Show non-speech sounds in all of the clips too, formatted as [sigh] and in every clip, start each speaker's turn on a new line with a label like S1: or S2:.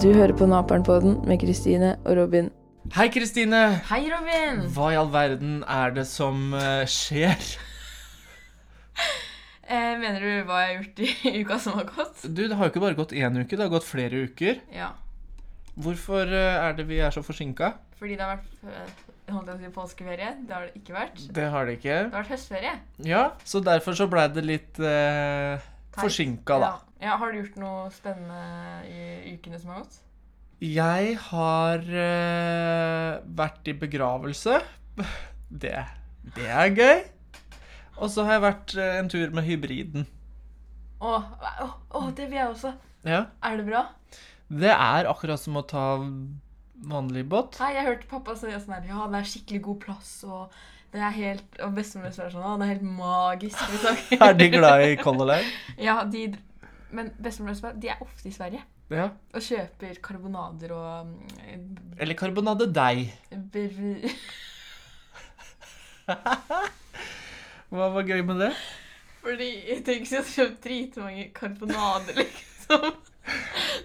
S1: Du hører på Naperen-podden med Kristine og Robin.
S2: Hei, Kristine!
S3: Hei, Robin!
S2: Hva i all verden er det som eh, skjer?
S3: Eh, mener du hva jeg har gjort i [laughs] uka som har gått?
S2: Du, Det har jo ikke bare gått én uke, det har gått flere uker.
S3: Ja.
S2: Hvorfor eh, er det vi er så forsinka?
S3: Fordi det har vært eh, holdt jeg på å si påskeferie. Det har det ikke vært.
S2: Det har det ikke.
S3: Det har vært høstferie.
S2: Ja, Så derfor så blei det litt eh,
S3: Teit.
S2: forsinka, da.
S3: Ja. ja. Har du gjort noe spennende i ukene som har gått?
S2: Jeg har eh, vært i begravelse. Det, det er gøy. Og så har jeg vært eh, en tur med hybriden.
S3: Å, å, å, det vil jeg også.
S2: Ja.
S3: Er det bra?
S2: Det er akkurat som å ta vanlig båt.
S3: Nei, jeg hørte pappa si sånn her Ja, det er skikkelig god plass, og det er helt Og bestemor min sa sånn Å, det er helt magisk. liksom.
S2: [laughs] Er de glad i Color Line?
S3: Ja, de Men bestemor min sa de er ofte i Sverige
S2: Ja.
S3: og kjøper karbonader og mm,
S2: Eller karbonade deg.
S3: Br
S2: Hva var gøy med det?
S3: Fordi jeg tenker ikke at jeg kjøpte dritmange karbonader, liksom.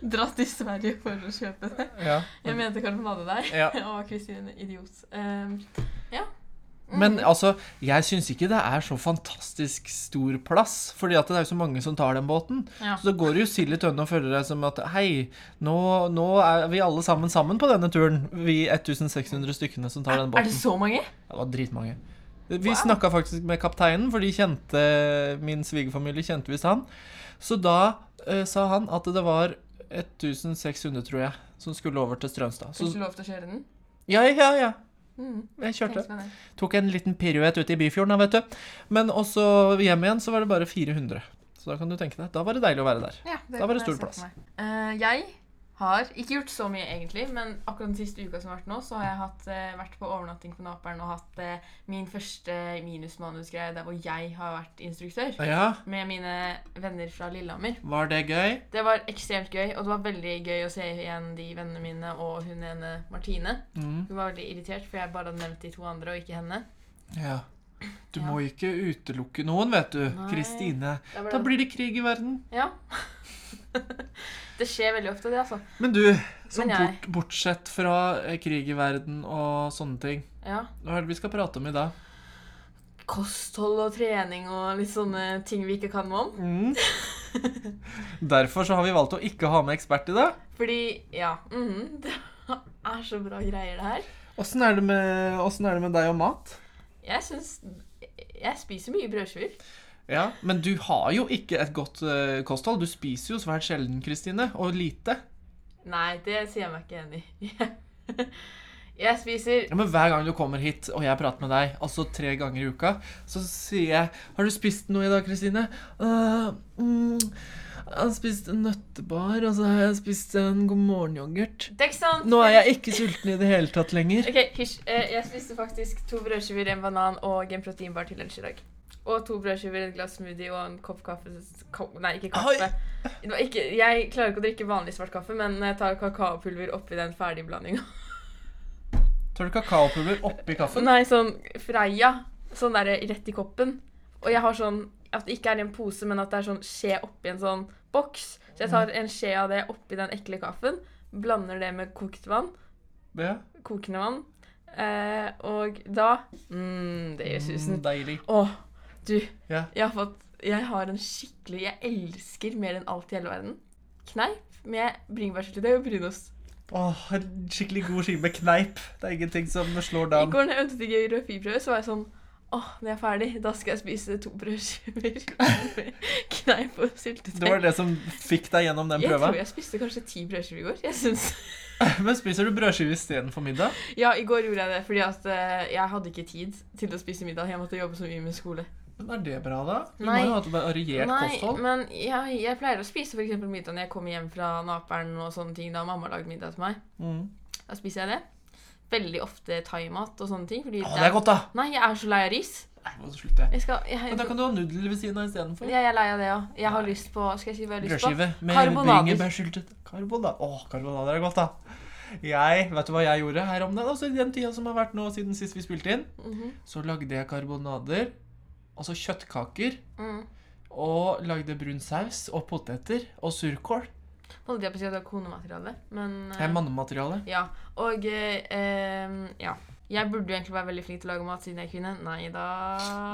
S3: Dratt til Sverige for å kjøpe det.
S2: Ja.
S3: Jeg mente karbonade der.
S2: Ja.
S3: [laughs] Og Kristine idiot. Um, ja. Mm.
S2: Men altså, jeg syns ikke det er så fantastisk stor plass. Fordi at det er jo så mange som tar den båten.
S3: ja.
S2: Så det går jo sild i tønne og føler deg som at hei, nå, nå er vi alle sammen sammen på denne turen. Vi 1600 stykkene som tar
S3: Er
S2: den
S3: er det
S2: båten.
S3: så mange?
S2: Ja, Det var dritmange. Vi
S3: Wow.
S2: snakket snakka faktisk med kapteinen, for de kjente min svigerfamilie kjente visst han. Så da eh, sa han at det var 1600, tror jeg, som skulle over til Strømstad.
S3: Fikk
S2: Så,
S3: du lov til å kjøre den?
S2: ja, ja, ja.
S3: Mm.
S2: Jeg kjørte.
S3: tenkte meg det.
S2: Tok en liten piruett ute i Byfjorden, da, vet du. Men også hjem igjen så var det bare 400. Så da kan du tenke deg, da var det deilig å være der.
S3: Ja,
S2: Da var
S3: kan
S2: det
S3: jeg
S2: stor
S3: se for meg. Eh, jeg har ikke gjort så mye, egentlig, men akkurat den siste uka som har vært nå, så har jeg hatt, eh, vært på overnatting på Naperen og hatt eh, min første minusmanusgreie der hvor jeg har vært instruktør.
S2: Ja,
S3: Med mine venner fra Lillehammer.
S2: var det gøy?
S3: Det var ekstremt gøy, og det var veldig gøy å se igjen de vennene mine og hun ene Martine.
S2: Mm.
S3: Hun var veldig irritert, for jeg bare hadde nevnt de to andre og ikke henne.
S2: Ja. Du
S3: Ja.
S2: må ikke utelukke noen, vet du,
S3: Nei.
S2: Kristine.
S3: Da ble
S2: Da
S3: det-
S2: blir det krig i verden.
S3: Ja. [laughs] det skjer veldig ofte, det, altså.
S2: Men du,
S3: Men
S2: sånn
S3: jeg-
S2: bort, bortsett fra eh, krig i verden og sånne ting,
S3: Ja.
S2: hva er det vi skal prate om i dag?
S3: Kosthold og trening og litt sånne ting vi ikke kan noe om. [laughs]
S2: Mm. Derfor så har vi valgt å ikke ha med ekspert i dag.
S3: Fordi, ja mhm, [laughs] Det er så bra greier, det her.
S2: Åssen er, det med- åssen er det med deg og mat?
S3: Jeg syns Jeg spiser mye brødskiver.
S2: Ja, Men du har jo ikke et godt eh, kosthold. Du spiser jo svært sjelden, Kristine. Og lite.
S3: Nei, det sier jeg meg ikke enig i. [laughs] Jeg spiser
S2: Ja, men hver gang du kommer hit og jeg prater med deg, altså tre ganger i uka, så sier jeg 'Har du spist noe i dag, Kristine?' «Øh, mm, 'Jeg har spist en nøttebar, og så har jeg spist en god morgen-yoghurt'.
S3: Det er ikke sant?
S2: Nå er jeg ikke sulten i det hele tatt lenger.
S3: Ok, hysj. Eh, Jeg spiste faktisk to brødskiver, en banan og en proteinbar til lunsj i dag. Og to brødskiver, et glass smoothie og en kopp kaffe ko Nei, ikke kaffe. Det var ikke, jeg klarer ikke å drikke vanlig svart kaffe, men jeg tar kakaopulver oppi den ferdigblandinga.
S2: Tar du kakaopulver oppi kaffen?
S3: [laughs] Nei, sånn Freia. Sånn derre rett i koppen. Og jeg har sånn At det ikke er i en pose, men at det er sånn skje oppi en sånn boks. Så jeg tar en skje av det oppi den ekle kaffen, blander det med kokt vann.
S2: Ja.
S3: kokende vann. Eh, og da mm, Det gjør
S2: Mm,
S3: susen.
S2: deilig.
S3: Å, du.
S2: Ja.
S3: Jeg har fått Jeg har en skikkelig Jeg elsker mer enn alt i hele verden. Kneip med bringebærsyltetøy og brunost.
S2: Åh, en skikkelig god skive med kneip. Det er ingenting som slår
S3: I
S2: down.
S3: går når jeg øvde til geografiprøve, så var jeg sånn Å, når jeg er ferdig, da skal jeg spise to
S2: [laughs]
S3: brødskiver med kneip og syltetøy.
S2: Det var det som fikk deg gjennom den
S3: jeg
S2: prøva.
S3: tror jeg spiste kanskje ti brødskiver i går. Jeg synes.
S2: Men spiser du brødskive istedenfor middag?
S3: Ja, i går gjorde jeg det fordi at eh, jeg hadde ikke tid til å spise middag. Jeg måtte jobbe så mye med skole.
S2: Men er det bra, da? Du
S3: Nei.
S2: må jo ha et variert
S3: Nei,
S2: kosthold.
S3: men jeg, jeg pleier å spise for eksempel middag når jeg kommer hjem fra naperen og sånne ting. Da har mamma lagd middag til meg.
S2: Mm.
S3: Da spiser jeg det. Veldig ofte thaimat og sånne ting. Fordi
S2: Å, det er godt, da!
S3: Nei, jeg er så lei av ris.
S2: Nei, må du slutte.
S3: Jeg, skal, jeg,
S2: Men da kan du ha nudler ved siden av istedenfor.
S3: jeg, jeg er lei av det òg. Jeg har lyst på Skal jeg si hva jeg har lyst
S2: Brødskive med
S3: Karbonader.
S2: bringebærsyltet. Karbonader. Å, karbonader er godt, da. Jeg, Vet du hva jeg gjorde her om dagen? Altså, I den tida som har vært nå siden sist vi spilte inn,
S3: på? Mhm.
S2: så lagde jeg karbonader, altså kjøttkaker,
S3: Mm.
S2: og lagde brun saus og poteter og surkål.
S3: Holdt jeg på å si at det var konemateriale, men eh,
S2: Jeg er mannemateriale.
S3: Ja. Og eh, em, ja. Jeg burde jo egentlig være veldig flink til å lage mat siden jeg er kvinne. Nei da.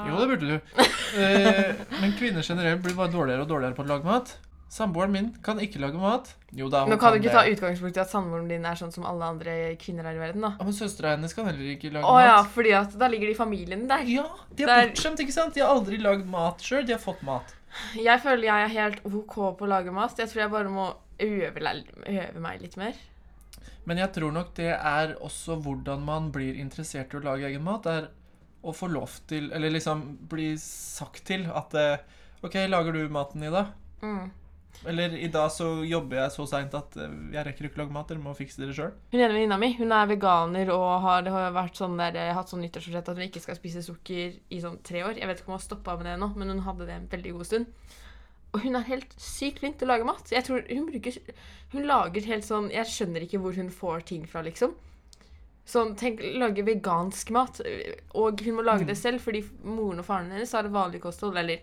S2: Jo, det burde du. Eh, men kvinner generelt blir bare dårligere og dårligere på å lage mat. Samboeren min kan ikke lage mat. Jo da,
S3: Nå kan du ikke ta
S2: det.
S3: utgangspunkt i at samboeren din er sånn som alle andre kvinner her i verden, da.
S2: Ja, men søstera hennes kan heller ikke lage
S3: Å
S2: mat.
S3: ja, fordi at da ligger de i familien der.
S2: Ja, de er
S3: Der-
S2: bortskjemt, ikke sant? De har aldri lagd mat sjøl. De har fått mat.
S3: Jeg føler jeg er helt OK på å lage mat. Jeg tror jeg bare må øve, læ- øve meg litt mer.
S2: Men jeg tror nok det er også hvordan man blir interessert i å lage egen mat, er å få lov til, eller liksom bli sagt til at eh, OK, lager du maten i dag?
S3: Mm.
S2: Eller i dag så jobber jeg så seint at eh, jeg rekker ikke å lage mat, dere må fikse dere sjøl.
S3: Hun ene venninna mi hun er veganer og har, har vært sånn der, hatt sånn nyttårsforsett at hun ikke skal spise sukker i sånn tre år. Jeg vet ikke om hun har stoppa med det ennå, men hun hadde det en veldig god stund. Og hun er helt sykt flink til å lage mat. Jeg tror Hun bruker Hun lager helt sånn Jeg skjønner ikke hvor hun får ting fra, liksom. Sånn, tenk, Lage vegansk mat. Og hun må lage det selv, fordi moren og faren hennes har et vanlig kosthold. Eller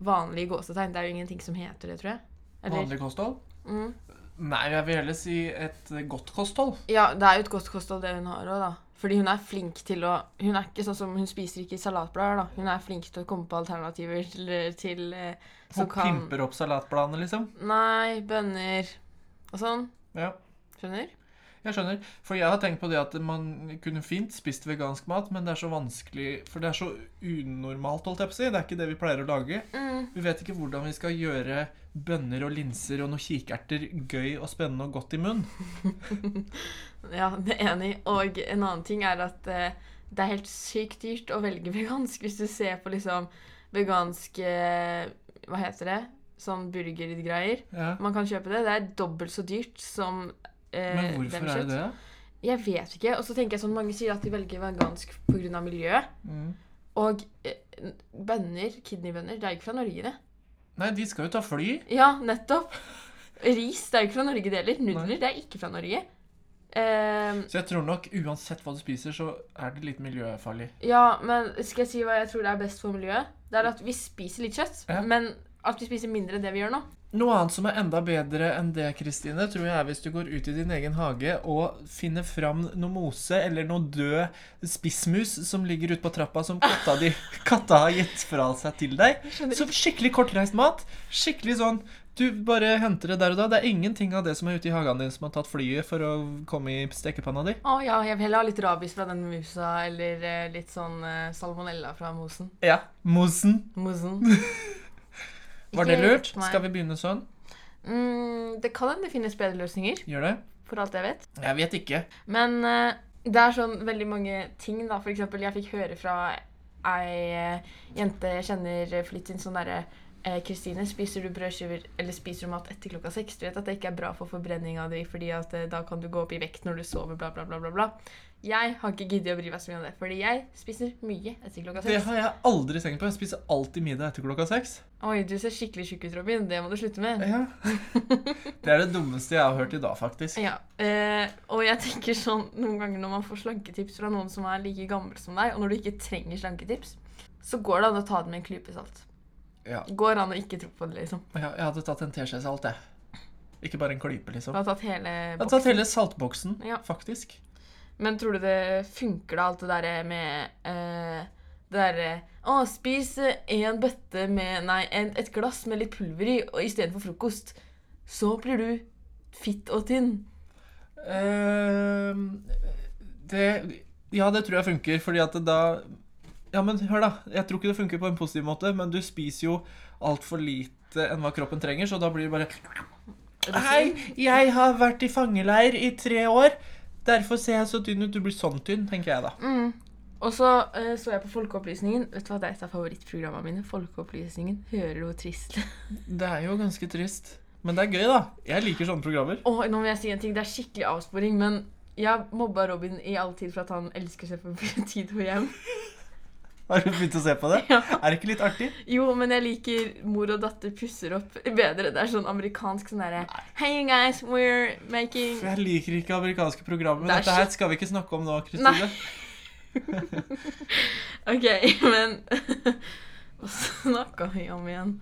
S3: vanlig gåsetegn. Det er jo ingenting som heter det, tror jeg. Eller,
S2: Vanlig kosthold?
S3: mm.
S2: Nei, jeg vil heller si et eh, godt kosthold.
S3: Ja, det er jo et godt kosthold det hun har òg, da. Fordi hun er flink til å Hun er ikke sånn som hun spiser ikke salatblader, da. Hun er flink til å komme på alternativer til, til eh,
S2: Hun
S3: som kan
S2: pimper opp salatbladene, liksom.
S3: Nei, bønner og sånn.
S2: Ja.
S3: Skjønner?
S2: Jeg skjønner. For jeg har tenkt på det at man kunne fint spist vegansk mat, men det er så vanskelig For det er så unormalt, holdt jeg på å si. Det er ikke det vi pleier å lage.
S3: Mm.
S2: Vi vet ikke hvordan vi skal gjøre bønner og linser og noen kikerter gøy og spennende og godt i munnen.
S3: Ja, [laughs] det er enig. Og en annen ting er at eh, det er helt sykt dyrt å velge [laughs] vegansk hvis du ser på liksom vegansk eh, Hva heter det? Sånn burgergreier.
S2: Ja.
S3: Man kan kjøpe det. Det er dobbelt så dyrt som eh,
S2: Men hvorfor
S3: med
S2: er
S3: kjøtt.
S2: det det?
S3: Jeg vet ikke. Og så tenker jeg sånn, mange sier at de velger vegansk pga. miljøet.
S2: Mm.
S3: Og eh, bønner, kidneybønner, det er jo ikke fra Norge, det.
S2: Nei, de skal jo ta fly.
S3: Ja, nettopp. Ris, det er jo ikke fra Norge det heller. Nudler, det er ikke fra Norge. Ehm,
S2: Så jeg tror nok uansett hva du spiser, så er det litt miljøfarlig.
S3: ja, men skal jeg si hva jeg tror det er best for miljøet? Det er at vi spiser litt kjøtt,
S2: Ja.
S3: men at vi spiser mindre enn det vi gjør nå.
S2: Noe annet som er enda bedre enn det, Kristine, tror jeg er hvis du går ut i din egen hage og finner fram noe mose eller noe død spissmus som ligger ute på trappa som katta, [laughs] di, katta har gitt fra seg til deg.
S3: skjønner
S2: Så skikkelig kortreist mat. Skikkelig sånn Du bare henter det der og da. Det er ingenting av det som er ute i hagen din som har tatt flyet for å komme i stekepanna di.
S3: Å ja, jeg vil heller ha litt rabies fra den musa, eller eh, litt sånn eh, salmonella fra mosen.
S2: Ja. Mosen.
S3: Mosen. [laughs]
S2: Var det
S3: Ikke-
S2: lurt?
S3: Nei.
S2: Skal vi begynne sånn?
S3: Mm, det kan hende det finnes bedre løsninger,
S2: Gjør det?
S3: for alt jeg vet.
S2: Jeg vet ikke.
S3: Men eh, det er sånn veldig mange ting, da. For eksempel, jeg fikk høre fra ei eh, jente jeg kjenner eh, for litt siden, sånn derre Kristine, spiser du brødskiver eller spiser du mat etter klokka seks? Du vet at det ikke er bra for forbrenninga di, fordi at eh, da kan du gå opp i vekt når du sover, bla, bla, bla, bla. bla. Jeg har ikke giddet å bry meg så mye om det, fordi jeg spiser mye etter klokka
S2: Det
S3: seks.
S2: har jeg aldri tenkt på. Jeg spiser alltid middag etter klokka seks.
S3: Oi, du ser skikkelig tjukk ut, Robin. Det må du slutte med.
S2: Ja. [laughs] Det er det dummeste jeg har hørt i dag, faktisk.
S3: Ja, eh, og jeg tenker sånn noen ganger når man får slanketips fra noen som er like gammel som deg, og når du ikke trenger slanketips, så går det an å ta det med en klype salt.
S2: Ja.
S3: Går an å ikke tro på det, liksom.
S2: Jeg, jeg hadde tatt en teskje salt, jeg. Ikke bare en
S3: Du
S2: klype, liksom.
S3: har tatt hele
S2: Jeg hadde
S3: boksen.
S2: tatt hele saltboksen,
S3: Ja.
S2: faktisk.
S3: Men tror du det funker, da, alt det derre med eh, det derre Å, spis eh, en bøtte med Nei, en, et glass med litt pulver i og istedenfor frokost. Så blir du fitt og tynn.
S2: Ehm, det Ja, det tror jeg funker, fordi at det da Ja, men hør, da. Jeg tror ikke det funker på en positiv måte, men du spiser jo altfor lite enn hva kroppen trenger, så da blir det bare Hei, jeg har vært i fangeleir i tre år. Derfor ser jeg så tynn ut. Du blir sånn tynn, tenker jeg da.
S3: Mm. Og så eh, så jeg på Folkeopplysningen. Vet du hva det er et av favorittprogrammene mine? Folkeopplysningen. Hører du hvor trist [laughs] det er?
S2: Det er jo ganske trist. Men det er gøy, da. Jeg liker sånne programmer.
S3: Åh, nå må jeg si en ting. Det er skikkelig avsporing, men jeg har mobba Robin i all tid for at han elsker seg på [laughs] tid og hjem.
S2: [laughs] Har du begynt å se [laughs] på det?
S3: Ja.
S2: Er det ikke litt artig?
S3: Jo, men jeg liker mor og datter pusser opp bedre. Det er sånn amerikansk sånn derre Hey you guys, we're making
S2: For jeg liker ikke amerikanske programmer. Men
S3: Det er
S2: dette her skal vi ikke snakke om nå, Kristine.
S3: [laughs] OK, men Hva snakka vi om igjen?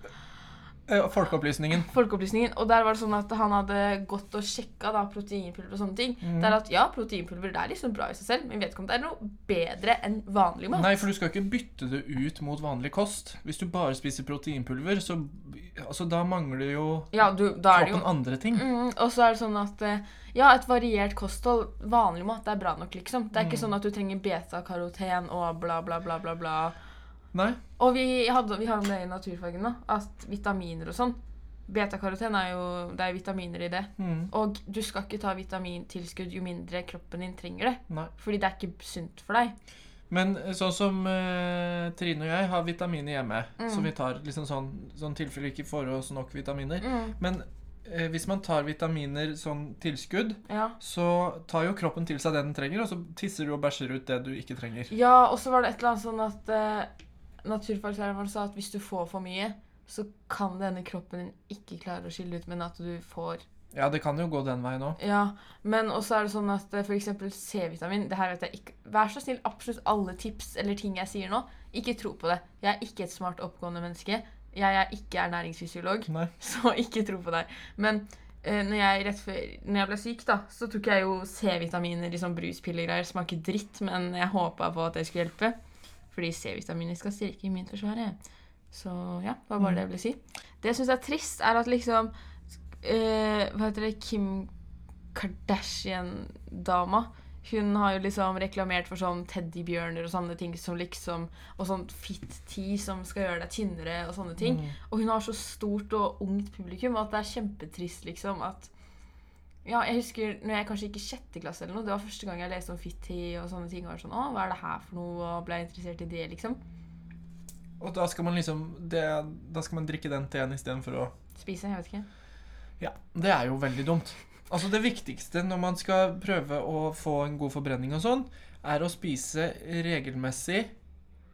S2: eh, Folkeopplysningen.
S3: Folkeopplysningen. Og der var det sånn at han hadde gått og sjekka da, proteinpulver og sånne ting. Det er at ja, proteinpulver det er liksom bra i seg selv, men jeg vet ikke om det er noe bedre enn vanlig mat.
S2: Nei, for du skal ikke bytte det ut mot vanlig kost. Hvis du bare spiser proteinpulver, så altså, da mangler jo
S3: Ja, du, da er det jo
S2: kroppen andre ting.
S3: Mm, og så er det sånn at eh, ja, et variert kosthold, vanlig mat, det er bra nok, liksom. Det er ikke sånn at du trenger betakaroten og bla, bla, bla, bla, bla.
S2: Nei.
S3: Og vi, hadde, vi har jo det i naturfagen, da, at vitaminer og sånn Betakaroten er jo det er vitaminer i det.
S2: Mm.
S3: Og du skal ikke ta vitamintilskudd jo mindre kroppen din trenger det.
S2: Nei.
S3: Fordi det er ikke sunt for deg.
S2: Men eh, sånn som eh, Trine og jeg har vitaminer hjemme,
S3: Mm.
S2: så vi tar liksom sånn, sånn tilfelle vi ikke får oss nok vitaminer. Men eh, hvis man tar vitaminer som tilskudd,
S3: Ja.
S2: så tar jo kroppen til seg det den trenger, og så tisser du og bæsjer ut det du ikke trenger.
S3: ja, og så var det et eller annet sånn at eh, naturfaglæreren vår sa at hvis du får for mye, så kan det hende kroppen din ikke klarer å skille ut, men at du får
S2: Ja, det kan jo gå den veien òg.
S3: Ja, men også er det sånn at eh, for eksempel C-vitamin det her vet jeg ikke, Vær så snill, absolutt alle tips eller ting jeg sier nå, ikke tro på det. Jeg er ikke et smart, oppegående menneske. Jeg er ikke ernæringsfysiolog,
S2: Nei.
S3: [laughs] så ikke tro på det. Men eh, når, jeg, rett før, når jeg ble syk, da, så tok jeg jo C-vitaminer, liksom bruspillegreier. Smaker dritt, men jeg håpa på at det skulle hjelpe. Fordi C-vitaminer skal styrke immunforsvaret. Så ja, det var bare det jeg ville si. Det jeg syns er trist, er at liksom eh, Hva heter det? Kim Kardashian-dama. Hun har jo liksom reklamert for sånn teddybjørner og sånne ting som liksom Og sånn fit-tee som skal gjøre deg tynnere og sånne ting. Og hun har så stort og ungt publikum at det er kjempetrist, liksom, at ja, jeg husker når jeg kanskje gikk i sjette klasse eller noe, det var første gang jeg leste om fit-tee og sånne ting. Og var sånn, å, hva er det her for noe, og ble interessert i det, liksom.
S2: Og da skal man liksom det, Da skal man drikke den teen istedenfor å
S3: Spise, jeg vet ikke.
S2: Ja, det er jo veldig dumt. Altså Det viktigste når man skal prøve å få en god forbrenning og sånn, er å spise regelmessig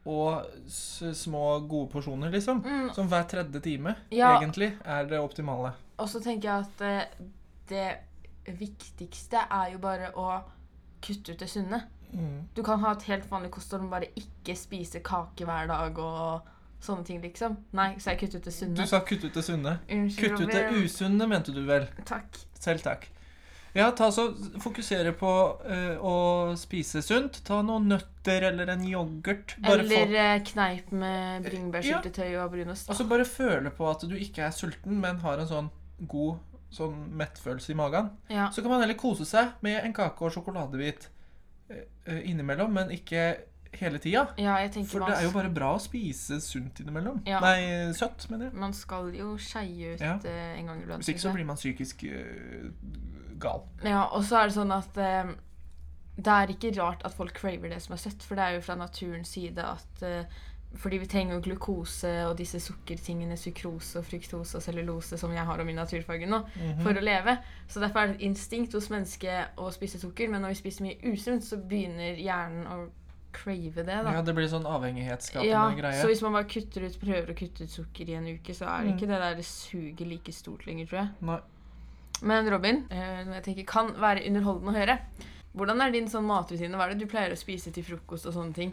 S2: og s små, gode porsjoner, liksom.
S3: Mm.
S2: Som hver tredje time,
S3: Ja.
S2: egentlig, er det optimale.
S3: Og så tenker jeg at eh, det viktigste er jo bare å kutte ut det sunne.
S2: Mm.
S3: Du kan ha et helt vanlig kosthold, men bare ikke spise kake hver dag og sånne ting, liksom. Nei, så jeg kutter ut det
S2: Du
S3: sunne.
S2: sa kutt ut det sunne.
S3: Unnskyld,
S2: Kutt ut det
S3: Robin.
S2: usunne, mente du vel.
S3: Takk.
S2: Selv takk. Ja, ta så fokusere på eh, å spise sunt. Ta noen nøtter eller en yoghurt. Bare få-
S3: Eller eh, kneip med bringebærsyltetøy og brunost.
S2: Og så bare føle på at du ikke er sulten, men har en sånn god sånn mettfølelse i magen.
S3: Ja.
S2: Så kan man heller kose seg med en kake og sjokoladebit eh, eh, innimellom, men ikke hele tida.
S3: ja, jeg tenker
S2: For det er jo
S3: man,
S2: bare bra å spise sunt innimellom.
S3: Ja.
S2: Nei, søtt, mener jeg.
S3: man skal jo skeie ut
S2: Ja.
S3: eh, en gang iblant.
S2: Hvis ikke
S3: synes jeg.
S2: så blir man psykisk eh, gal.
S3: Ja, og så er det sånn at eh, det er ikke rart at folk craver det som er søtt, for det er jo fra naturens side at eh, fordi vi trenger jo glukose og disse sukkertingene, sukrose og fruktose og cellulose som jeg har om i naturfagen nå,
S2: Mhm.
S3: for
S2: Mm.
S3: å leve. Så derfor er det et instinkt hos mennesket å spise sukker, men når vi spiser mye usunt, så begynner hjernen å crave det, da.
S2: Ja, det blir sånn avhengighetsskapende
S3: Ja,
S2: greie. Mm.
S3: så hvis man bare kutter ut, prøver å kutte ut sukker i en uke, så er det ikke det der suget like stort lenger, tror jeg.
S2: Nei.
S3: Men Robin, eh, noe jeg tenker kan være underholdende å høre. Hvordan er din sånn matrutine? Hva er det du pleier å spise til frokost og sånne ting?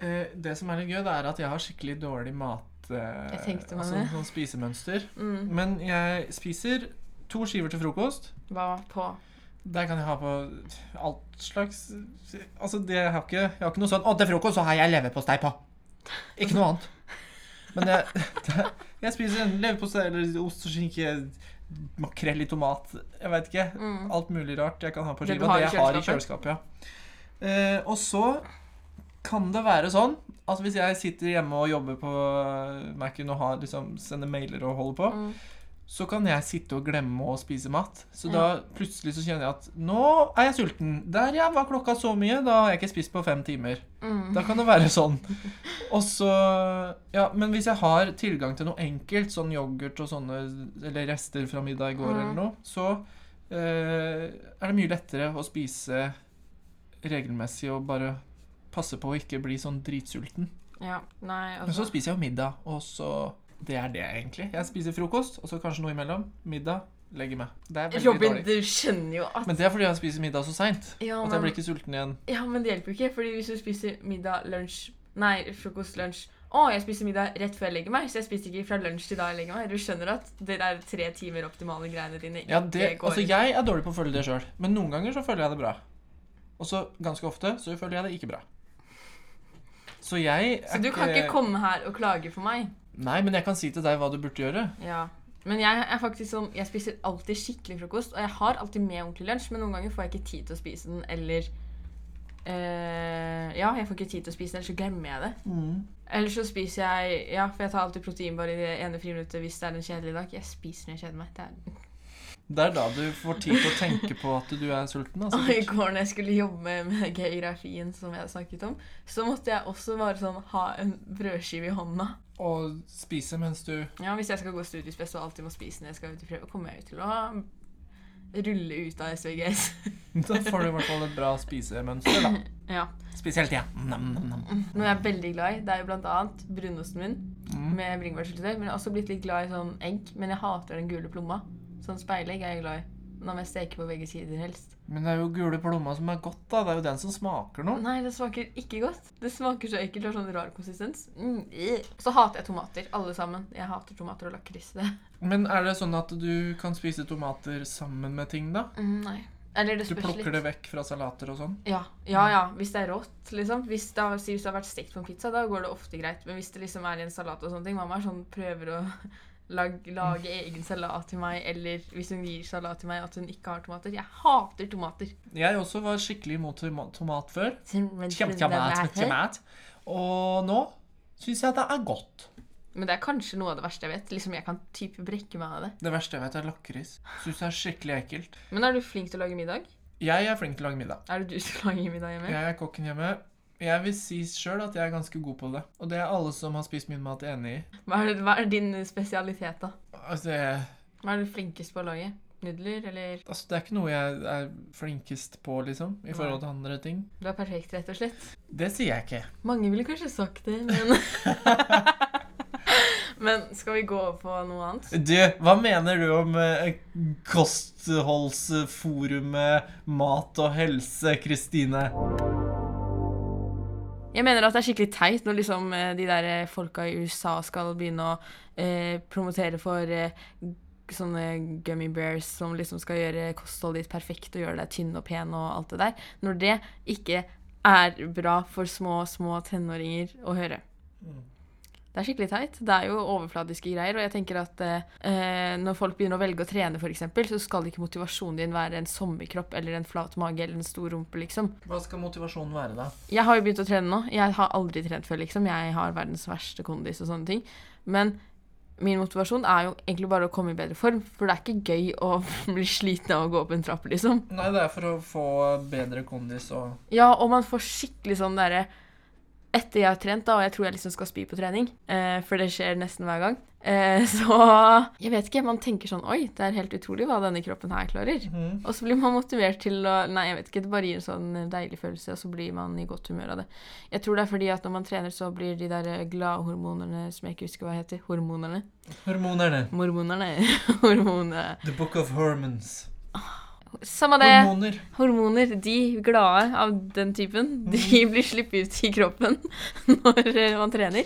S2: Eh, det som er litt gøy, det er at jeg har skikkelig dårlig mat... eh,
S3: Jeg tenkte meg
S2: altså,
S3: det.
S2: sånn spisemønster.
S3: Mm,
S2: Men jeg spiser to skiver til frokost.
S3: hva på?
S2: Der kan jeg ha på alt slags Altså, det jeg har ikke Jeg har ikke noe sånn 'Å, til frokost så har jeg leverpostei på'. Ikke noe annet. Men jeg, [laughs] jeg spiser enten leverpostei eller ost og skinke, makrell i tomat Jeg veit ikke.
S3: Mm.
S2: Alt mulig rart jeg kan ha på
S3: Det du
S2: skiva.
S3: har i
S2: Det, jeg har i kjøleskapet, ja. Eh, og så kan det være sånn at hvis jeg sitter hjemme og jobber på eh, Mac-en og har, liksom, sender mailer og holder på,
S3: Mm.
S2: så kan jeg sitte og glemme å spise mat. Så
S3: Ja.
S2: da plutselig så kjenner jeg at nå er jeg sulten. Der ja, var klokka så mye. Da har jeg ikke spist på fem timer.
S3: Mm.
S2: Da kan det være sånn. Og så Ja, men hvis jeg har tilgang til noe enkelt, sånn yoghurt og sånne Eller rester fra middag i går
S3: Mm.
S2: eller noe, så eh, er det mye lettere å spise regelmessig og bare passe på å ikke bli sånn dritsulten.
S3: Ja, nei,
S2: Men så
S3: altså.
S2: spiser jeg jo middag, og så Det er det, egentlig. Jeg spiser frokost, og så kanskje noe imellom. Middag. Legger meg. Det er veldig
S3: Robin,
S2: dårlig.
S3: du skjønner jo at
S2: Men det er fordi jeg spiser middag så seint.
S3: ja
S2: At
S3: men,
S2: jeg blir ikke sulten igjen.
S3: ja, men det hjelper jo ikke, fordi hvis du spiser middag, lunsj Nei, frokost, lunsj Å, jeg spiser middag rett før jeg legger meg, så jeg spiser ikke fra lunsj til da jeg legger meg. Du skjønner at det der tre timer optimale greiene dine ikke
S2: Ja, det,
S3: går
S2: altså, jeg er dårlig på å følge det sjøl, men noen ganger så føler jeg det bra. Og så ganske ofte så føler jeg det ikke bra. Så jeg er
S3: Så du kan ikke komme her og klage for meg.
S2: Nei, men jeg kan si til deg hva du burde gjøre.
S3: Ja. Men jeg er faktisk sånn, jeg spiser alltid skikkelig frokost, og jeg har alltid med ordentlig lunsj, men noen ganger får jeg ikke tid til å spise den, eller eh, Ja, jeg får ikke tid til å spise den, eller så glemmer jeg det. Eller så spiser jeg Ja, for jeg tar alltid proteinbar i det ene friminuttet hvis det er en kjedelig dag. Jeg spiser når jeg kjeder meg. Det er
S2: Det er da du får tid til å tenke på at du er sulten. Altså.
S3: Og i går når jeg skulle jobbe med geografien som jeg snakket om, så måtte jeg også bare sånn ha en brødskive i hånda.
S2: Og spise mens du
S3: Ja, hvis jeg skal gå studiespes og alltid må spise når jeg skal ut i prøve, kommer jeg jo til å rulle ut av SVGS.
S2: Da får du i hvert fall et bra spisemønster, da.
S3: [laughs] ja.
S2: Spise hele tida. Nam, nam, nam.
S3: Noe jeg er veldig glad i, det er jo blant annet brunosten min
S2: Mm.
S3: med bringebærsyltetøy. Men jeg har også blitt litt glad i sånn egg, men jeg hater den gule plomma. Sånn speilegg er jeg glad i. Men da må jeg steke på begge sider helst.
S2: Men det er jo gule plomma som er godt, da. Det er jo den som smaker noe.
S3: Nei, det smaker ikke godt. Det smaker så ekkelt og har sånn rar konsistens. Mm, eh. Så hater jeg tomater, alle sammen. Jeg hater tomater og lakris. Det.
S2: Men er det sånn at du kan spise tomater sammen med ting, da?
S3: Mm, nei. Eller det
S2: Du
S3: spørs
S2: plukker
S3: litt.
S2: det vekk fra salater og sånn?
S3: Ja, ja, ja. Hvis det er rått, liksom. Hvis det, har, si hvis det har vært stekt på en pizza, da går det ofte greit. Men hvis det liksom er i en salat og sånne ting Mamma er sånn, prøver å [laughs] lag, lage egen salat til meg, eller hvis hun gir salat til meg at hun ikke har tomater. Jeg hater tomater.
S2: Jeg også var skikkelig imot toma- tomat før.
S3: Men
S2: Kjempemat, kjempemat. Og nå syns jeg det er godt.
S3: Men det er kanskje noe av det verste jeg vet. Liksom, Jeg kan type brekke meg av det.
S2: Det verste jeg vet, er lakris. Syns jeg er skikkelig ekkelt.
S3: Men er du flink til å lage middag?
S2: Jeg er flink til å lage middag.
S3: Er det du som lager middag hjemme?
S2: Jeg er kokken hjemme. Jeg vil si sjøl at jeg er ganske god på det. Og det er alle som har spist min mat, enig i.
S3: Hva er, det, hva er din spesialitet, da?
S2: Altså, jeg,
S3: Hva er du flinkest på å lage? Nudler, eller
S2: altså, det er ikke noe jeg er flinkest på, liksom, i forhold til andre ting.
S3: Du er perfekt, rett og slett.
S2: Det sier jeg ikke.
S3: Mange ville kanskje sagt [laughs] det, men Men skal vi gå over på noe annet?
S2: Du, hva mener du om eh, kostholdsforumet Mat og helse, Kristine?
S3: Jeg mener at det er skikkelig teit når liksom eh, de der eh, folka i USA skal begynne å eh, promotere for eh, sånne gummy bears som liksom skal gjøre kostholdet ditt perfekt og gjøre deg tynn og pen og alt det der, når det ikke er bra for små, små tenåringer å høre. Det er skikkelig teit. Det er jo overfladiske greier. Og jeg tenker at eh, eh, når folk begynner å velge å trene, f.eks., så skal ikke motivasjonen din være en sommerkropp eller en flat mage eller en stor rumpe, liksom.
S2: Hva skal motivasjonen være, da?
S3: Jeg har jo begynt å trene nå. Jeg har aldri trent før, liksom. Jeg har verdens verste kondis og sånne ting. Men min motivasjon er jo egentlig bare å komme i bedre form, for det er ikke gøy å [laughs] bli sliten av å gå opp en trapp, liksom.
S2: Nei, det er for å få bedre kondis og
S3: Ja, og man får skikkelig sånn derre Etter jeg har trent, da, og jeg tror jeg liksom skal spy på trening, eh, for det skjer nesten hver gang, eh, [laughs] så Jeg vet ikke. Man tenker sånn Oi, det er helt utrolig hva denne kroppen her klarer.
S2: Mhm.
S3: Og så blir man motivert til å Nei, jeg vet ikke. Det bare gir en sånn deilig følelse, og så blir man i godt humør av det. Jeg tror det er fordi at når man trener, så blir de der eh, gladhormonene som jeg ikke husker hva heter Hormonene?
S2: Hormonerne.
S3: Mormonerne? [laughs] Hormonene
S2: The Book of Hormons.
S3: Samme det.
S2: Hormoner.
S3: Hormoner, de glade av den typen, de
S2: Mm.
S3: [laughs] blir sluppet ut i kroppen [laughs] når eh, man trener.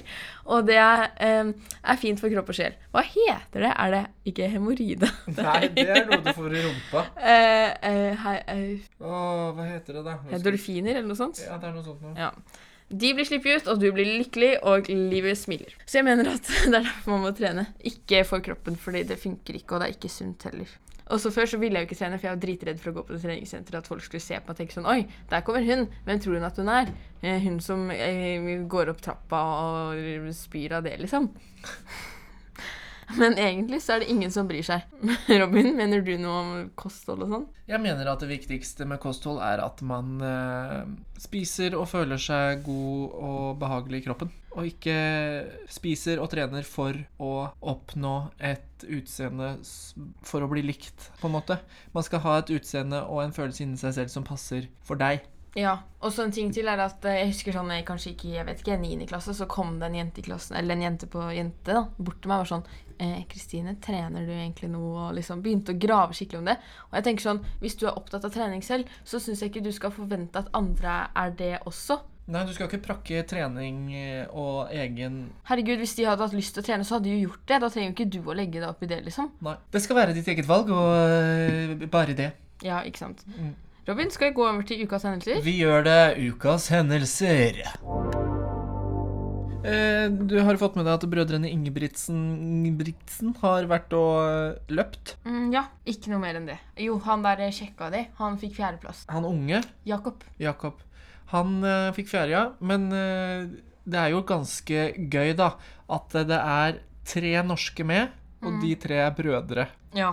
S3: Og det er, eh, er fint for kropp og sjel. Hva heter det? Er det ikke hemoroide?
S2: Nei, det er noe du får i rumpa.
S3: [laughs] Eh, eh, hei- eh,
S2: Åh, hva heter det, da? Nå skal-
S3: Dolfiner, eller noe sånt?
S2: Ja, det er noe sånt nå.
S3: Ja. De blir sluppet ut, og du blir lykkelig, og livet smiler. Så jeg mener at [laughs] det er derfor man må trene. Ikke for kroppen, fordi det funker ikke, og det er ikke sunt heller. Og så Før så ville jeg jo ikke trene, for jeg var dritredd for å gå på det treningssenteret. At folk skulle se på meg og tenke sånn Oi, der kommer hun. Hvem tror hun at hun er? Eh, Hun som eh, går opp trappa og spyr av det, liksom. [laughs] Men egentlig så er det ingen som bryr seg. [laughs] Robin, mener du noe om kosthold og sånn?
S2: Jeg mener at det viktigste med kosthold er at man eh, spiser og føler seg god og behagelig i kroppen. Og ikke spiser og trener for å oppnå et utseende s- for å bli likt, på en måte. Man skal ha et utseende og en følelse inni seg selv som passer for deg.
S3: Ja, og så en ting til er at eh, jeg husker sånn, jeg kanskje ikke, jeg vet ikke, i 9. klasse, så kom det en jente i klassen, eller en jente på jente da, bort til meg og var sånn, eh, Kristine, trener du egentlig noe? Og liksom begynte å grave skikkelig om det. Og jeg tenker sånn, hvis du er opptatt av trening selv, så synes jeg ikke du skal forvente at andre er det også.
S2: Nei, du skal ikke prakke trening eh, og egen
S3: Herregud, Hvis de hadde hatt lyst til å trene, så hadde de jo gjort det. Da trenger jo ikke du å legge deg opp i det, liksom.
S2: Nei. Det skal være ditt eget valg, og eh, bare det.
S3: Ja, ikke sant.
S2: Mm.
S3: Robin, skal vi gå over til ukas hendelser?
S2: Vi gjør det ukas hendelser. Eh, Du har fått med deg at brødrene Ingebrigtsen, Ingebrigtsen har vært og eh, løpt.
S3: Mm, ja. Ikke noe mer enn det. Jo, han der eh, sjekka de. Han fikk fjerdeplass.
S2: Han unge,
S3: Jakob.
S2: Jakob, han eh, fikk fjerde, ja. Men eh, det er jo ganske gøy, da, at det er tre norske med, og de tre er brødre.
S3: Ja.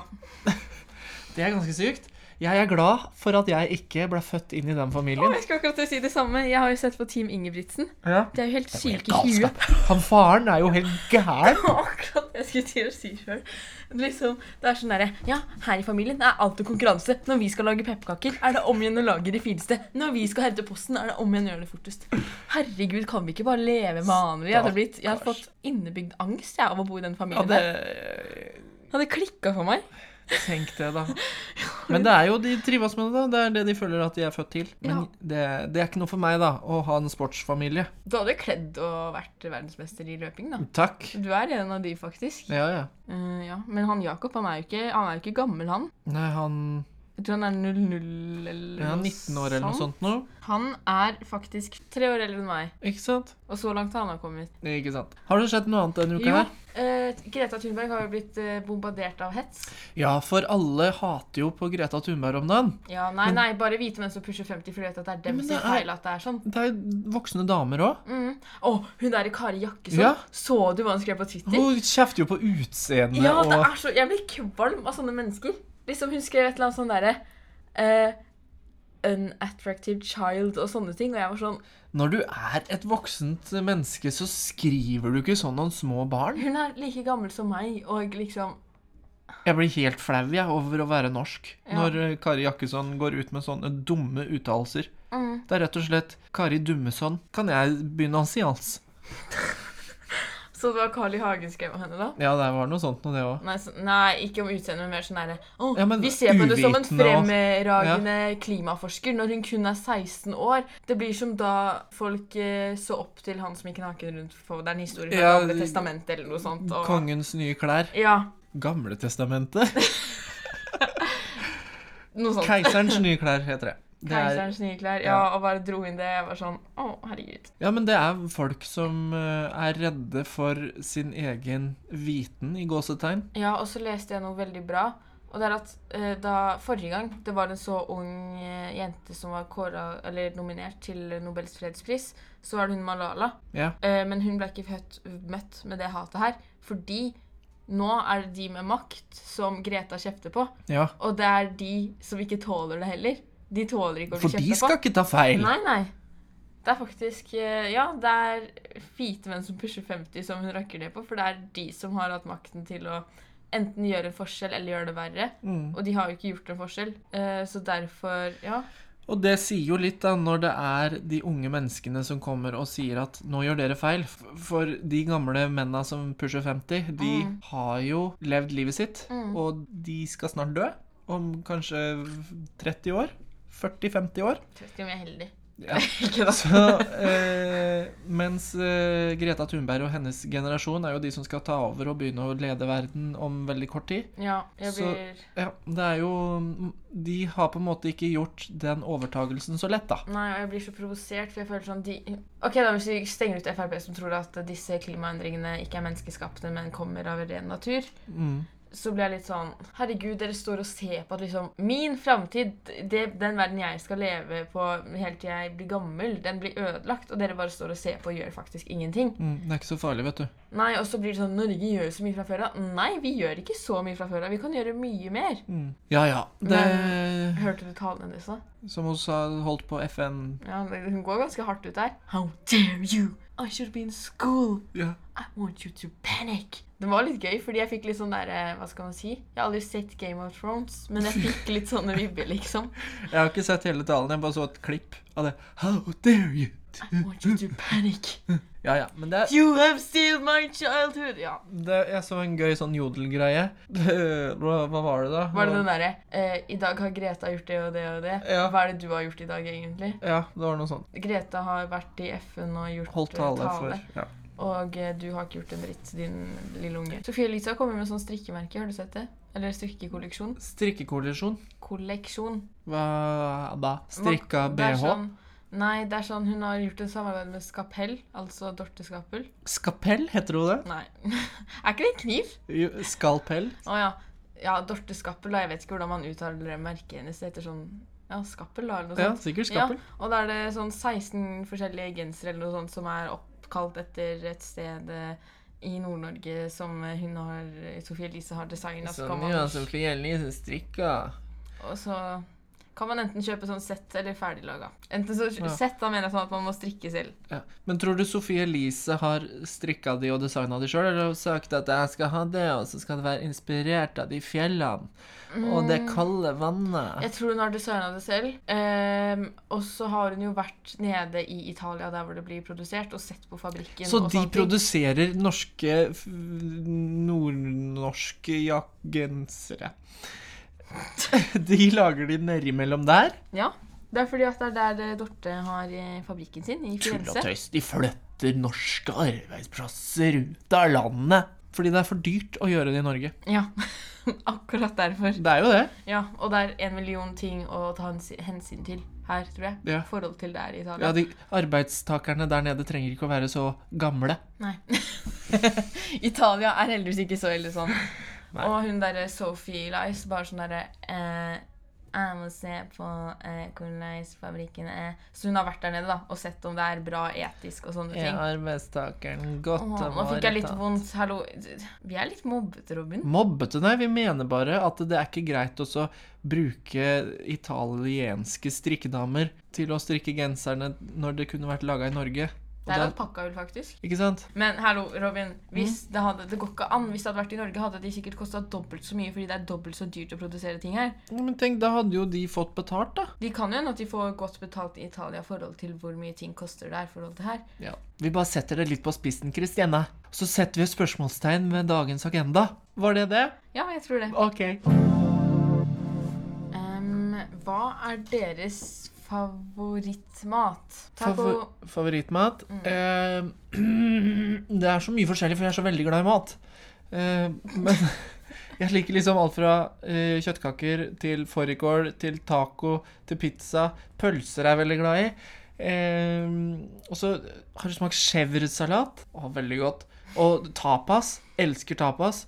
S2: Det er ganske sykt. Jeg er glad for at jeg ikke ble født inn i den familien.
S3: jeg skal akkurat til å si det samme. Jeg har jo sett på Team Ingebrigtsen.
S2: Ja.
S3: Det er jo helt
S2: Helt
S3: syke i huet.
S2: galskap. Han faren er jo helt gæren.
S3: [laughs] Akkurat det jeg skulle til å si sjøl. Liksom, det er sånn derre Ja, her i familien er alltid konkurranse. Når vi skal lage pepperkaker, er det om igjen å lage det fineste. Når vi skal hente posten, er det om igjen å gjøre det fortest. Herregud, kan vi ikke bare leve vanlig? Jeg hadde, blitt, jeg hadde fått innebygd angst jeg, av å bo i den
S2: Ja,
S3: familien.
S2: det,
S3: der. Det hadde klikka for meg.
S2: [laughs] tenk det,
S3: [laughs]
S2: da. Men det er jo, de trives med det. da. Det er det de føler at de er født til. Men
S3: Ja.
S2: det, det er ikke noe for meg, da, å ha en sportsfamilie.
S3: Du hadde jo kledd å vært verdensmester i løping, da.
S2: Takk.
S3: Du er en av de, faktisk.
S2: Ja, ja.
S3: Eh, ja. Men han Jakob, han er jo ikke, han er jo ikke gammel, han.
S2: Nei, han
S3: Jeg tror han er 00 eller
S2: er 19 år eller noe sånt nå.
S3: Han er faktisk tre år eldre enn meg,
S2: Ikke sant?
S3: og så langt har han har kommet.
S2: Ikke sant. Har det skjedd noe annet denne uka?
S3: Jo,
S2: her?
S3: eh, Greta Thunberg har jo blitt eh, bombardert av hets.
S2: Ja, for alle hater jo på Greta Thunberg om dagen.
S3: Ja, Nei, nei, bare hvite menn som pusher 50 fordi de vet at det er dem
S2: Men
S3: sin
S2: det er-
S3: feil at det er sånn.
S2: Det er jo voksne damer òg.
S3: Mm. Å, hun derre Kari Jakkesson,
S2: Ja.
S3: så du hva hun skrev på Twitter?
S2: Hun kjefter jo på utseendet
S3: ja, det
S2: og
S3: er så, Jeg blir kvalm av sånne mennesker. Liksom Hun skrev et eller annet sånn derre eh, Unattractive child og sånne ting, og jeg var sånn
S2: Når du er et voksent menneske, så skriver du ikke sånn om små barn.
S3: Hun er like gammel som meg, og liksom
S2: Jeg blir helt flau jeg, over å være norsk
S3: Ja.
S2: når eh, Kari Jakkesson går ut med sånne dumme uttalelser.
S3: mm.
S2: Det er rett og slett 'Kari Dummesson, kan jeg begynne å seans?'
S3: Så det var Carl I. Hagen skrev om henne, da?
S2: Ja, det var noe sånt noe, det òg.
S3: Nei, så, nei, ikke om utseendet, men mer sånn derre «Åh,
S2: Ja, men
S3: Vi ser på henne som en
S2: uvitende og-
S3: fremragende klimaforsker når hun kun er 16 år. Det blir som da folk eh, så opp til han som gikk naken rundt på Det er en historie fra
S2: Ja,
S3: Gamle
S2: de-
S3: testamentet eller noe sånt. Og,
S2: Kongens nye klær.
S3: Ja, [laughs]
S2: Gamletestamentet.
S3: noe sånt.
S2: Keiserens nye klær, heter det. det er,
S3: Keiserens nye klær. Ja,
S2: ja.
S3: og bare dro inn det. Jeg var sånn Å, herregud.
S2: ja, men det er folk som eh, er redde for sin egen viten, i gåsetegn.
S3: Ja, og så leste jeg noe veldig bra. Og det er at eh, da forrige gang det var en så ung eh, jente som var kåret, eller nominert til Nobels fredspris, så var det hun Malala.
S2: Ja.
S3: Eh, men hun ble ikke født, møtt med det hatet her, fordi nå er det de med makt som Greta kjefter på,
S2: ja.
S3: og det er de som ikke tåler det heller. De tåler ikke å bli
S2: For de
S3: kjefta
S2: skal
S3: på.
S2: ikke ta feil.
S3: Nei, nei. Det er faktisk eh, Ja, det er hvite menn som pusher 50 som hun rakker ned på, for det er de som har hatt makten til å enten gjøre en forskjell eller gjøre det verre.
S2: Mm.
S3: Og de har jo ikke gjort en forskjell, eh, så derfor Ja.
S2: Og det sier jo litt da, når det er de unge menneskene som kommer og sier at nå gjør dere feil. F- For de gamle menna som pusher 50, de
S3: Mm.
S2: har jo levd livet sitt,
S3: Mm.
S2: og de skal snart dø. Om kanskje 30 år. 40-50 år.
S3: Jeg vet
S2: [laughs]
S3: ikke om jeg er heldig.
S2: Ja.
S3: [laughs] ikke da.
S2: Så, eh, mens eh, Greta Thunberg og hennes generasjon er jo de som skal ta over og begynne å lede verden om veldig kort tid.
S3: Ja, jeg
S2: Så-
S3: blir
S2: Ja, det er jo mm, De har på en måte ikke gjort den overtagelsen så lett, da.
S3: Nei, og jeg blir så provosert, for jeg føler sånn de... Ok, da hvis vi stenger ut Frp som tror at disse klimaendringene ikke er menneskeskapte, men kommer av ren natur,
S2: Mm.
S3: så blir jeg litt sånn Herregud, dere står og ser på at liksom Min framtid, det, den verden jeg skal leve på helt til jeg blir gammel, den blir ødelagt, og dere bare står og ser på og gjør faktisk ingenting.
S2: Mm, det er ikke så farlig, vet du.
S3: Nei, og så blir det sånn Norge gjør jo så mye fra før av. Nei, vi gjør ikke så mye fra før av. Vi kan gjøre mye mer.
S2: Mm. Ja, ja. Det,
S3: Hørte du talen hennes da?
S2: som hun sa, holdt på FN
S3: Ja, det- hun går ganske hardt ut der. How dare you! I should be in school!
S2: ja.
S3: I want you to panic. Det var litt gøy, fordi jeg fikk litt sånn derre Hva skal man si? Jeg har aldri sett Game of Thrones, men jeg fikk litt sånne vibber, liksom.
S2: Jeg har ikke sett hele talen, jeg bare så et klipp av det. How dare you!
S3: I want you to panic.
S2: Ja, ja, men det er
S3: You have stealed my childhood. Ja.
S2: det, Jeg så en gøy sånn jodelgreie. Hva hva var det, da?
S3: Var det den derre eh, I dag har Greta gjort det og det og det.
S2: Ja.
S3: Hva er det du har gjort i dag, egentlig?
S2: Ja, det var noe sånt.
S3: Greta har vært i FN og gjort
S2: Holdt
S3: eh,
S2: tale for ja.
S3: Og eh, du har ikke gjort en dritt, din lille unge. Sofie Elise har kommet med sånn strikkemerke. Har du sett det? Eller strikkekolleksjon.
S2: Strikkekollisjon.
S3: Kolleksjon.
S2: Hva da? Strikka
S3: Man- det er
S2: bh?
S3: sånn- Nei, det er sånn hun har gjort et samarbeid med Skapell, altså Dorte Skapell.
S2: Skapell, heter hun det?
S3: Nei. [laughs] er ikke det en kniv?
S2: Jo, Skalpell?
S3: Å ja. Ja, Dorte Skapell, da. Jeg vet ikke hvordan man uttaler det merket hennes. Det heter sånn Ja, Skapell, da, eller noe
S2: Ja,
S3: sånt.
S2: sikkert skapell.
S3: Og da er det sånn 16 forskjellige gensere eller noe sånt som er oppkalt etter et sted eh, i Nord-Norge som eh, hun har Sofie Elise har designa. Så, kan
S2: Sånn,
S3: man-
S2: strikka.
S3: og så kan man enten kjøpe sånn sett eller ferdiglaga. Enten så
S2: Ja.
S3: sett, da mener jeg sånn at man må strikke selv.
S2: Ja. Men tror du Sofie Elise har strikka de og designa de sjøl, eller har hun sagt at jeg skal ha det, og så skal det være inspirert av de fjellene og det kalde vannet?
S3: Jeg tror hun har designa det selv. Ehm, og så har hun jo vært nede i Italia, der hvor det blir produsert, og sett på fabrikken.
S2: Så
S3: og
S2: de
S3: sånne ting.
S2: produserer norske f- nordnorske jak- gensere. [laughs] De lager de nedimellom der.
S3: Ja. Det er fordi at det er der eh, Dorte har eh, fabrikken sin, i
S2: Tull og
S3: Firenze.
S2: tøys. De flytter norske arbeidsplasser ut av landet. Fordi det er for dyrt å gjøre det i Norge.
S3: Ja, [laughs] akkurat derfor.
S2: Det er jo det.
S3: Ja, Og det er en million ting å ta hensi- hensyn til her, tror jeg.
S2: Ja.
S3: Forhold til der i
S2: Ja,
S3: Italia.
S2: de Arbeidstakerne der nede trenger ikke å være så gamle.
S3: Nei. [laughs] Italia er heldigvis ikke så ille sånn.
S2: [laughs] Nei.
S3: Og hun derre Sophie Lice, bare sånn derre eh, Jeg må se på eh, hvor nice fabrikken er. Så hun har vært der nede da, og sett om det er bra etisk og sånne ting.
S2: arbeidstakeren godt
S3: Åh, nå fikk jeg litt vondt. Hallo. Vi er litt mobbet, Robin.
S2: Mobbete, nei. Vi mener bare at det er ikke greit å så bruke italienske strikkedamer til å strikke genserne når det kunne vært laga i Norge. Og
S3: Det er
S2: da-
S3: alpakkaull, faktisk.
S2: ikke sant?
S3: Men hallo, Robin. Hvis
S2: Mm.
S3: det, hadde, det går ikke an. Hvis det hadde vært i Norge, hadde de sikkert kosta dobbelt så mye fordi det er dobbelt så dyrt å produsere ting her.
S2: Ja, men tenk, da hadde jo de fått betalt, da.
S3: De kan jo hende at de får godt betalt i Italia i forhold til hvor mye ting koster der. i forhold til her.
S2: Ja. Vi bare setter det litt på spissen, Kristianne. Så setter vi et spørsmålstegn ved dagens agenda. Var det det?
S3: Ja, jeg tror det.
S2: OK.
S3: Em, hva er deres favorittmat? Taco
S2: Favor favorittmat? Eh, [clears throat] det er så mye forskjellig, for jeg er så veldig glad i mat. Eh, men [laughs] jeg liker liksom alt fra eh, kjøttkaker til fårikål til taco til pizza. Pølser er jeg veldig glad i. Eh, og så har du smakt chèvresalat. Å, veldig godt. Og tapas. Elsker tapas.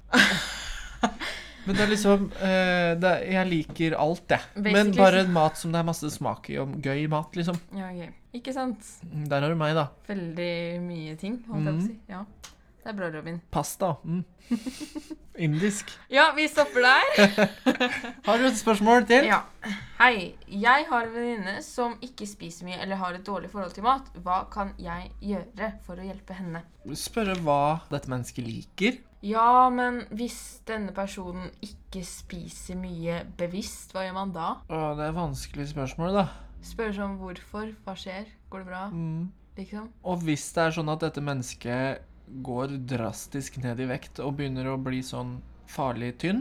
S2: Men det er liksom eh, det er, Jeg liker alt, jeg. Men
S3: Basically-
S2: bare mat som det er masse smak i, og gøy mat, liksom.
S3: Ja, ok. Ikke sant?
S2: Der har du meg, da.
S3: Veldig mye ting, holdt
S2: Mm.
S3: jeg på å si. Ja. Det er bra, Robin.
S2: Pasta. Mm. [laughs] Indisk.
S3: Ja, vi stopper der.
S2: Har du et spørsmål til?
S3: Ja. Hei. Jeg har en venninne som ikke spiser mye eller har et dårlig forhold til mat. Hva kan jeg gjøre for å hjelpe henne?
S2: Spørre hva dette mennesket liker.
S3: Ja, men hvis denne personen ikke spiser mye bevisst, hva gjør man da?
S2: Å, det er vanskelig spørsmål, da.
S3: Spørres om hvorfor, hva skjer, går det bra,
S2: Mm.
S3: liksom?
S2: Og hvis det er sånn at dette mennesket går drastisk ned i vekt og begynner å bli sånn farlig tynn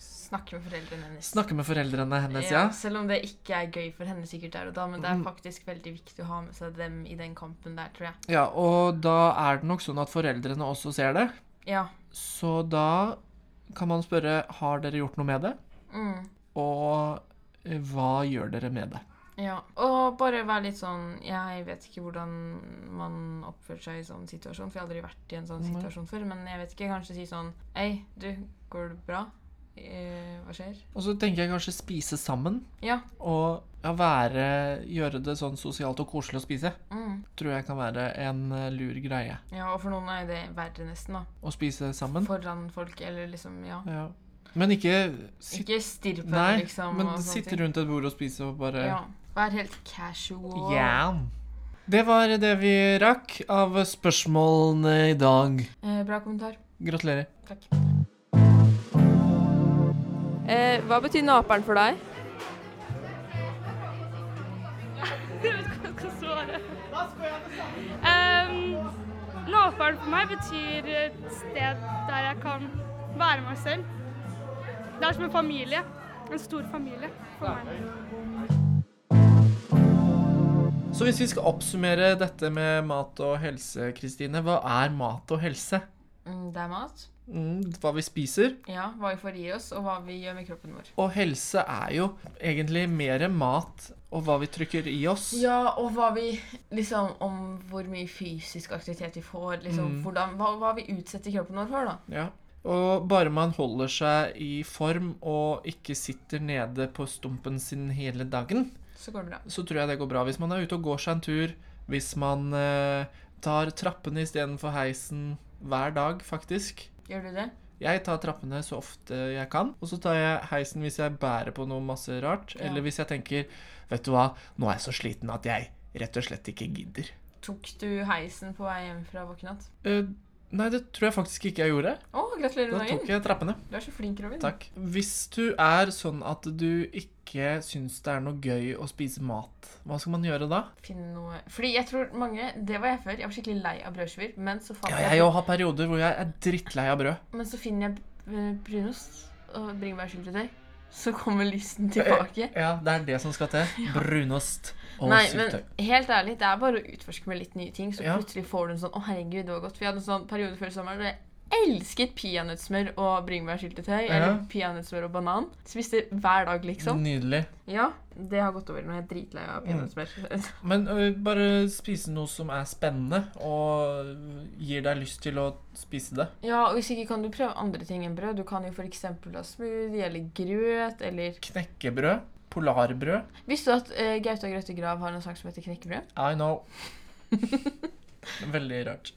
S3: Snakke med foreldrene hennes.
S2: Snakke med foreldrene hennes, ja.
S3: Ja, selv om det ikke er gøy for henne sikkert der og da, men det er
S2: Mm.
S3: faktisk veldig viktig å ha med seg dem i den kampen der, tror jeg.
S2: Ja, Og da er det nok sånn at foreldrene også ser det.
S3: Ja.
S2: Så da kan man spørre har dere gjort noe med det,
S3: Mm.
S2: og eh, hva gjør dere med det?
S3: Ja, og bare være litt sånn Jeg vet ikke hvordan man oppfører seg i sånn situasjon, for jeg har aldri vært i en sånn
S2: Nei.
S3: situasjon før. Men jeg vet ikke, kanskje si sånn Hei, du, går det bra? Eh, hva skjer?
S2: Og så tenker jeg kanskje spise sammen.
S3: Ja.
S2: Og ja, være, gjøre det sånn sosialt og koselig å spise,
S3: Mm.
S2: tror jeg kan være en eh, lur greie.
S3: Ja, og for noen er det verre, nesten, da.
S2: Å spise sammen.
S3: Foran folk, eller liksom Ja.
S2: Ja. Men ikke sitte
S3: Ikke stirr på
S2: Nei,
S3: dem, liksom.
S2: men
S3: og sånne
S2: sitte
S3: ting.
S2: rundt et bord og spise og bare
S3: Ja. Vær helt casual.
S2: Yeah. Det var det vi rakk av spørsmålene i dag.
S3: Eh, bra kommentar.
S2: Gratulerer.
S3: Takk.
S1: Eh, hva betyr naperen for deg?
S3: Jeg vet ikke hva jeg skal svare.
S4: være. Um, Nåfaren for meg betyr et sted der jeg kan være meg selv. Det er som en familie. En stor familie for meg.
S2: Så hvis vi skal oppsummere dette med mat og helse, Kristine, hva er mat og helse?
S3: Mm, Det er mat.
S2: Mm, hva vi spiser.
S3: Ja, hva vi får i oss, og hva vi gjør med kroppen vår.
S2: Og helse er jo egentlig mer mat og hva vi trykker i oss.
S3: Ja, og hva vi liksom Om hvor mye fysisk aktivitet vi får.
S2: Mm.
S3: Liksom, hvordan, hva, hva vi utsetter kroppen vår for, da.
S2: Ja. Og bare man holder seg i form og ikke sitter nede på stumpen sin hele dagen,
S3: Så går det bra.
S2: så tror jeg det går bra. Hvis man er ute og går seg en tur, hvis man eh, tar trappene istedenfor heisen hver dag, faktisk.
S3: Gjør du det?
S2: Jeg tar trappene så ofte jeg kan, og så tar jeg heisen hvis jeg bærer på noe masse rart,
S3: Ja.
S2: eller hvis jeg tenker Vet du hva, nå er jeg så sliten at jeg rett og slett ikke gidder.
S3: Tok du heisen på vei hjem fra våkenatt?
S2: Eh, nei, det tror jeg faktisk ikke jeg gjorde.
S3: Å, gratulerer
S2: Da
S3: med
S2: tok
S3: dagen!
S2: jeg trappene.
S3: Du er så flink, Robin.
S2: Takk. Hvis du er sånn at du ikke syns det er noe gøy å spise mat, hva skal man gjøre da?
S3: Finne noe Fordi jeg tror mange Det var jeg før. Jeg var skikkelig lei av brødskiver. Men så, fant
S2: Ja, jeg òg har perioder hvor jeg er drittlei av brød.
S3: men så finner jeg eh, brunost og bringebærsyltetøy. Så kommer lysten tilbake.
S2: Ja, Det er det som skal til. Brunost og
S3: Nei, men
S2: syltetøy.
S3: helt ærlig, det er bare å utforske med litt nye ting, så
S2: Ja.
S3: plutselig får du en sånn 'Å, herregud, det var godt'. For jeg hadde en sånn periode før sommeren hvor jeg elsket peanøttsmør og bringebærsyltetøy. Eller
S2: Ja. Mm.
S3: peanøttsmør og banan. Spiste hver dag, liksom.
S2: Nydelig.
S3: Ja, det har gått over. Nå er jeg dritlei
S2: Mm.
S3: av peanøttsmør. [laughs]
S2: Men ø, bare spise noe som er spennende, og gir deg lyst til å spise det.
S3: ja, og hvis ikke kan du prøve andre ting enn brød. Du kan jo f.eks. ha smoothie eller grøt eller
S2: Knekkebrød. Polarbrød.
S3: Visste du at eh, Gaute og Grøtte Grav har en sang som heter 'Knekkebrød'?
S2: I [laughs] know. Veldig rart.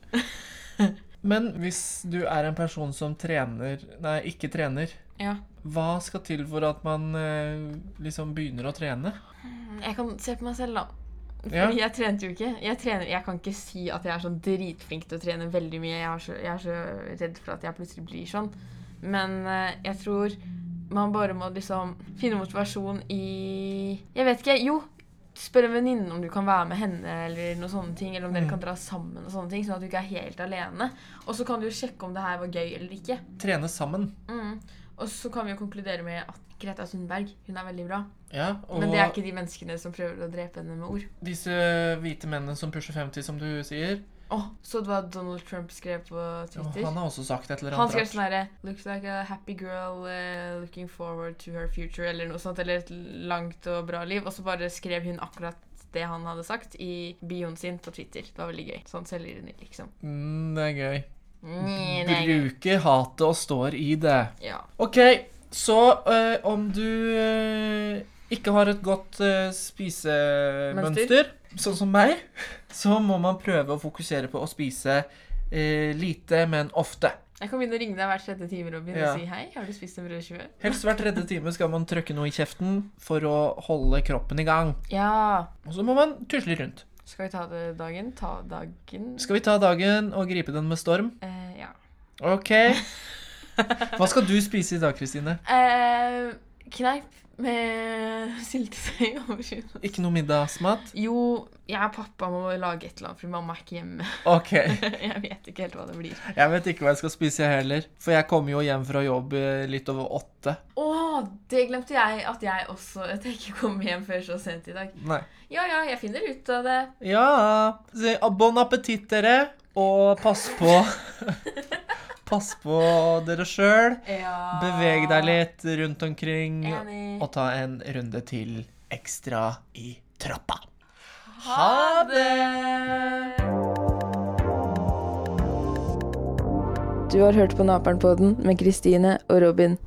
S2: Men hvis du er en person som trener Nei, ikke trener.
S3: Ja.
S2: Hva skal til for at man ø, liksom begynner å trene?
S3: Jeg kan se på meg selv, da. Fordi
S2: Ja.
S3: jeg trente jo ikke. Jeg, trener, jeg kan ikke si at jeg er sånn dritflink til å trene veldig mye. Jeg er så, jeg er så redd for at jeg plutselig blir sånn. Men eh, jeg tror man bare må liksom finne motivasjon i Jeg vet ikke. Jo, spør en venninne om du kan være med henne, eller noen sånne ting, eller om dere
S2: Mm.
S3: kan dra sammen, og sånne ting, sånn at du ikke er helt alene. Og så kan du jo sjekke om det her var gøy eller ikke.
S2: Trene sammen.
S3: Mm. Og så kan vi jo konkludere med at Greta Sundberg hun er veldig bra.
S2: Ja, og
S3: Men det er ikke de menneskene som prøver å drepe henne med ord.
S2: disse hvite mennene som pusher 50, som du sier.
S3: Åh, så det var Donald Trump skrev på Twitter?
S2: Han har også sagt et eller
S3: han
S2: annet
S3: skrev
S2: rart.
S3: sånn herre Looks like a happy girl eh, looking forward to her future, eller noe sånt. Eller et langt og bra liv. Og så bare skrev hun akkurat det han hadde sagt i bioen sin på Twitter. Det var veldig gøy. Sånn selvironi, liksom.
S2: Mm, det er gøy.
S3: Nei, nei, nei.
S2: Bruker hatet og står i det.
S3: Ja.
S2: Ok, så eh, om du eh, ikke har et godt eh, spisemønster, sånn som meg, [laughs] så må man prøve å fokusere på å spise eh, lite, men ofte.
S3: Jeg kan begynne å ringe deg hver tredje time Robin,
S2: Ja.
S3: og si hei. Har du spist en brødskive?
S2: Helst hver tredje time skal man trøkke noe i kjeften for å holde kroppen i gang.
S3: Ja.
S2: Og så må man tusle rundt.
S3: Skal vi ta det dagen? Ta dagen
S2: Skal vi ta dagen og gripe den med storm?
S3: eh, Ja.
S2: Ok. Hva skal du spise i dag, Kristine?
S3: Eh, kneip med [laughs] syltetøy over skyen.
S2: Ikke noe middagsmat?
S3: Jo, jeg og pappa må lage et eller annet, fordi mamma er ikke hjemme. [laughs]
S2: Ok.
S3: Jeg vet ikke helt hva det blir.
S2: Jeg vet ikke hva jeg skal spise jeg heller, for jeg kommer jo hjem fra jobb eh, litt over åtte.
S3: Å, det glemte jeg at jeg også At jeg ikke kom hjem før så sent i dag.
S2: Nei.
S3: Ja ja, jeg finner ut av det.
S2: Ja så, ah, Bon appetitt, dere, og pass på Pass på dere sjøl.
S3: Ja.
S2: Beveg deg litt rundt omkring,
S3: Enig.
S2: og ta en runde til ekstra i trappa.
S3: Ha det! Du har hørt på Naperen-podden med Kristine og Robin.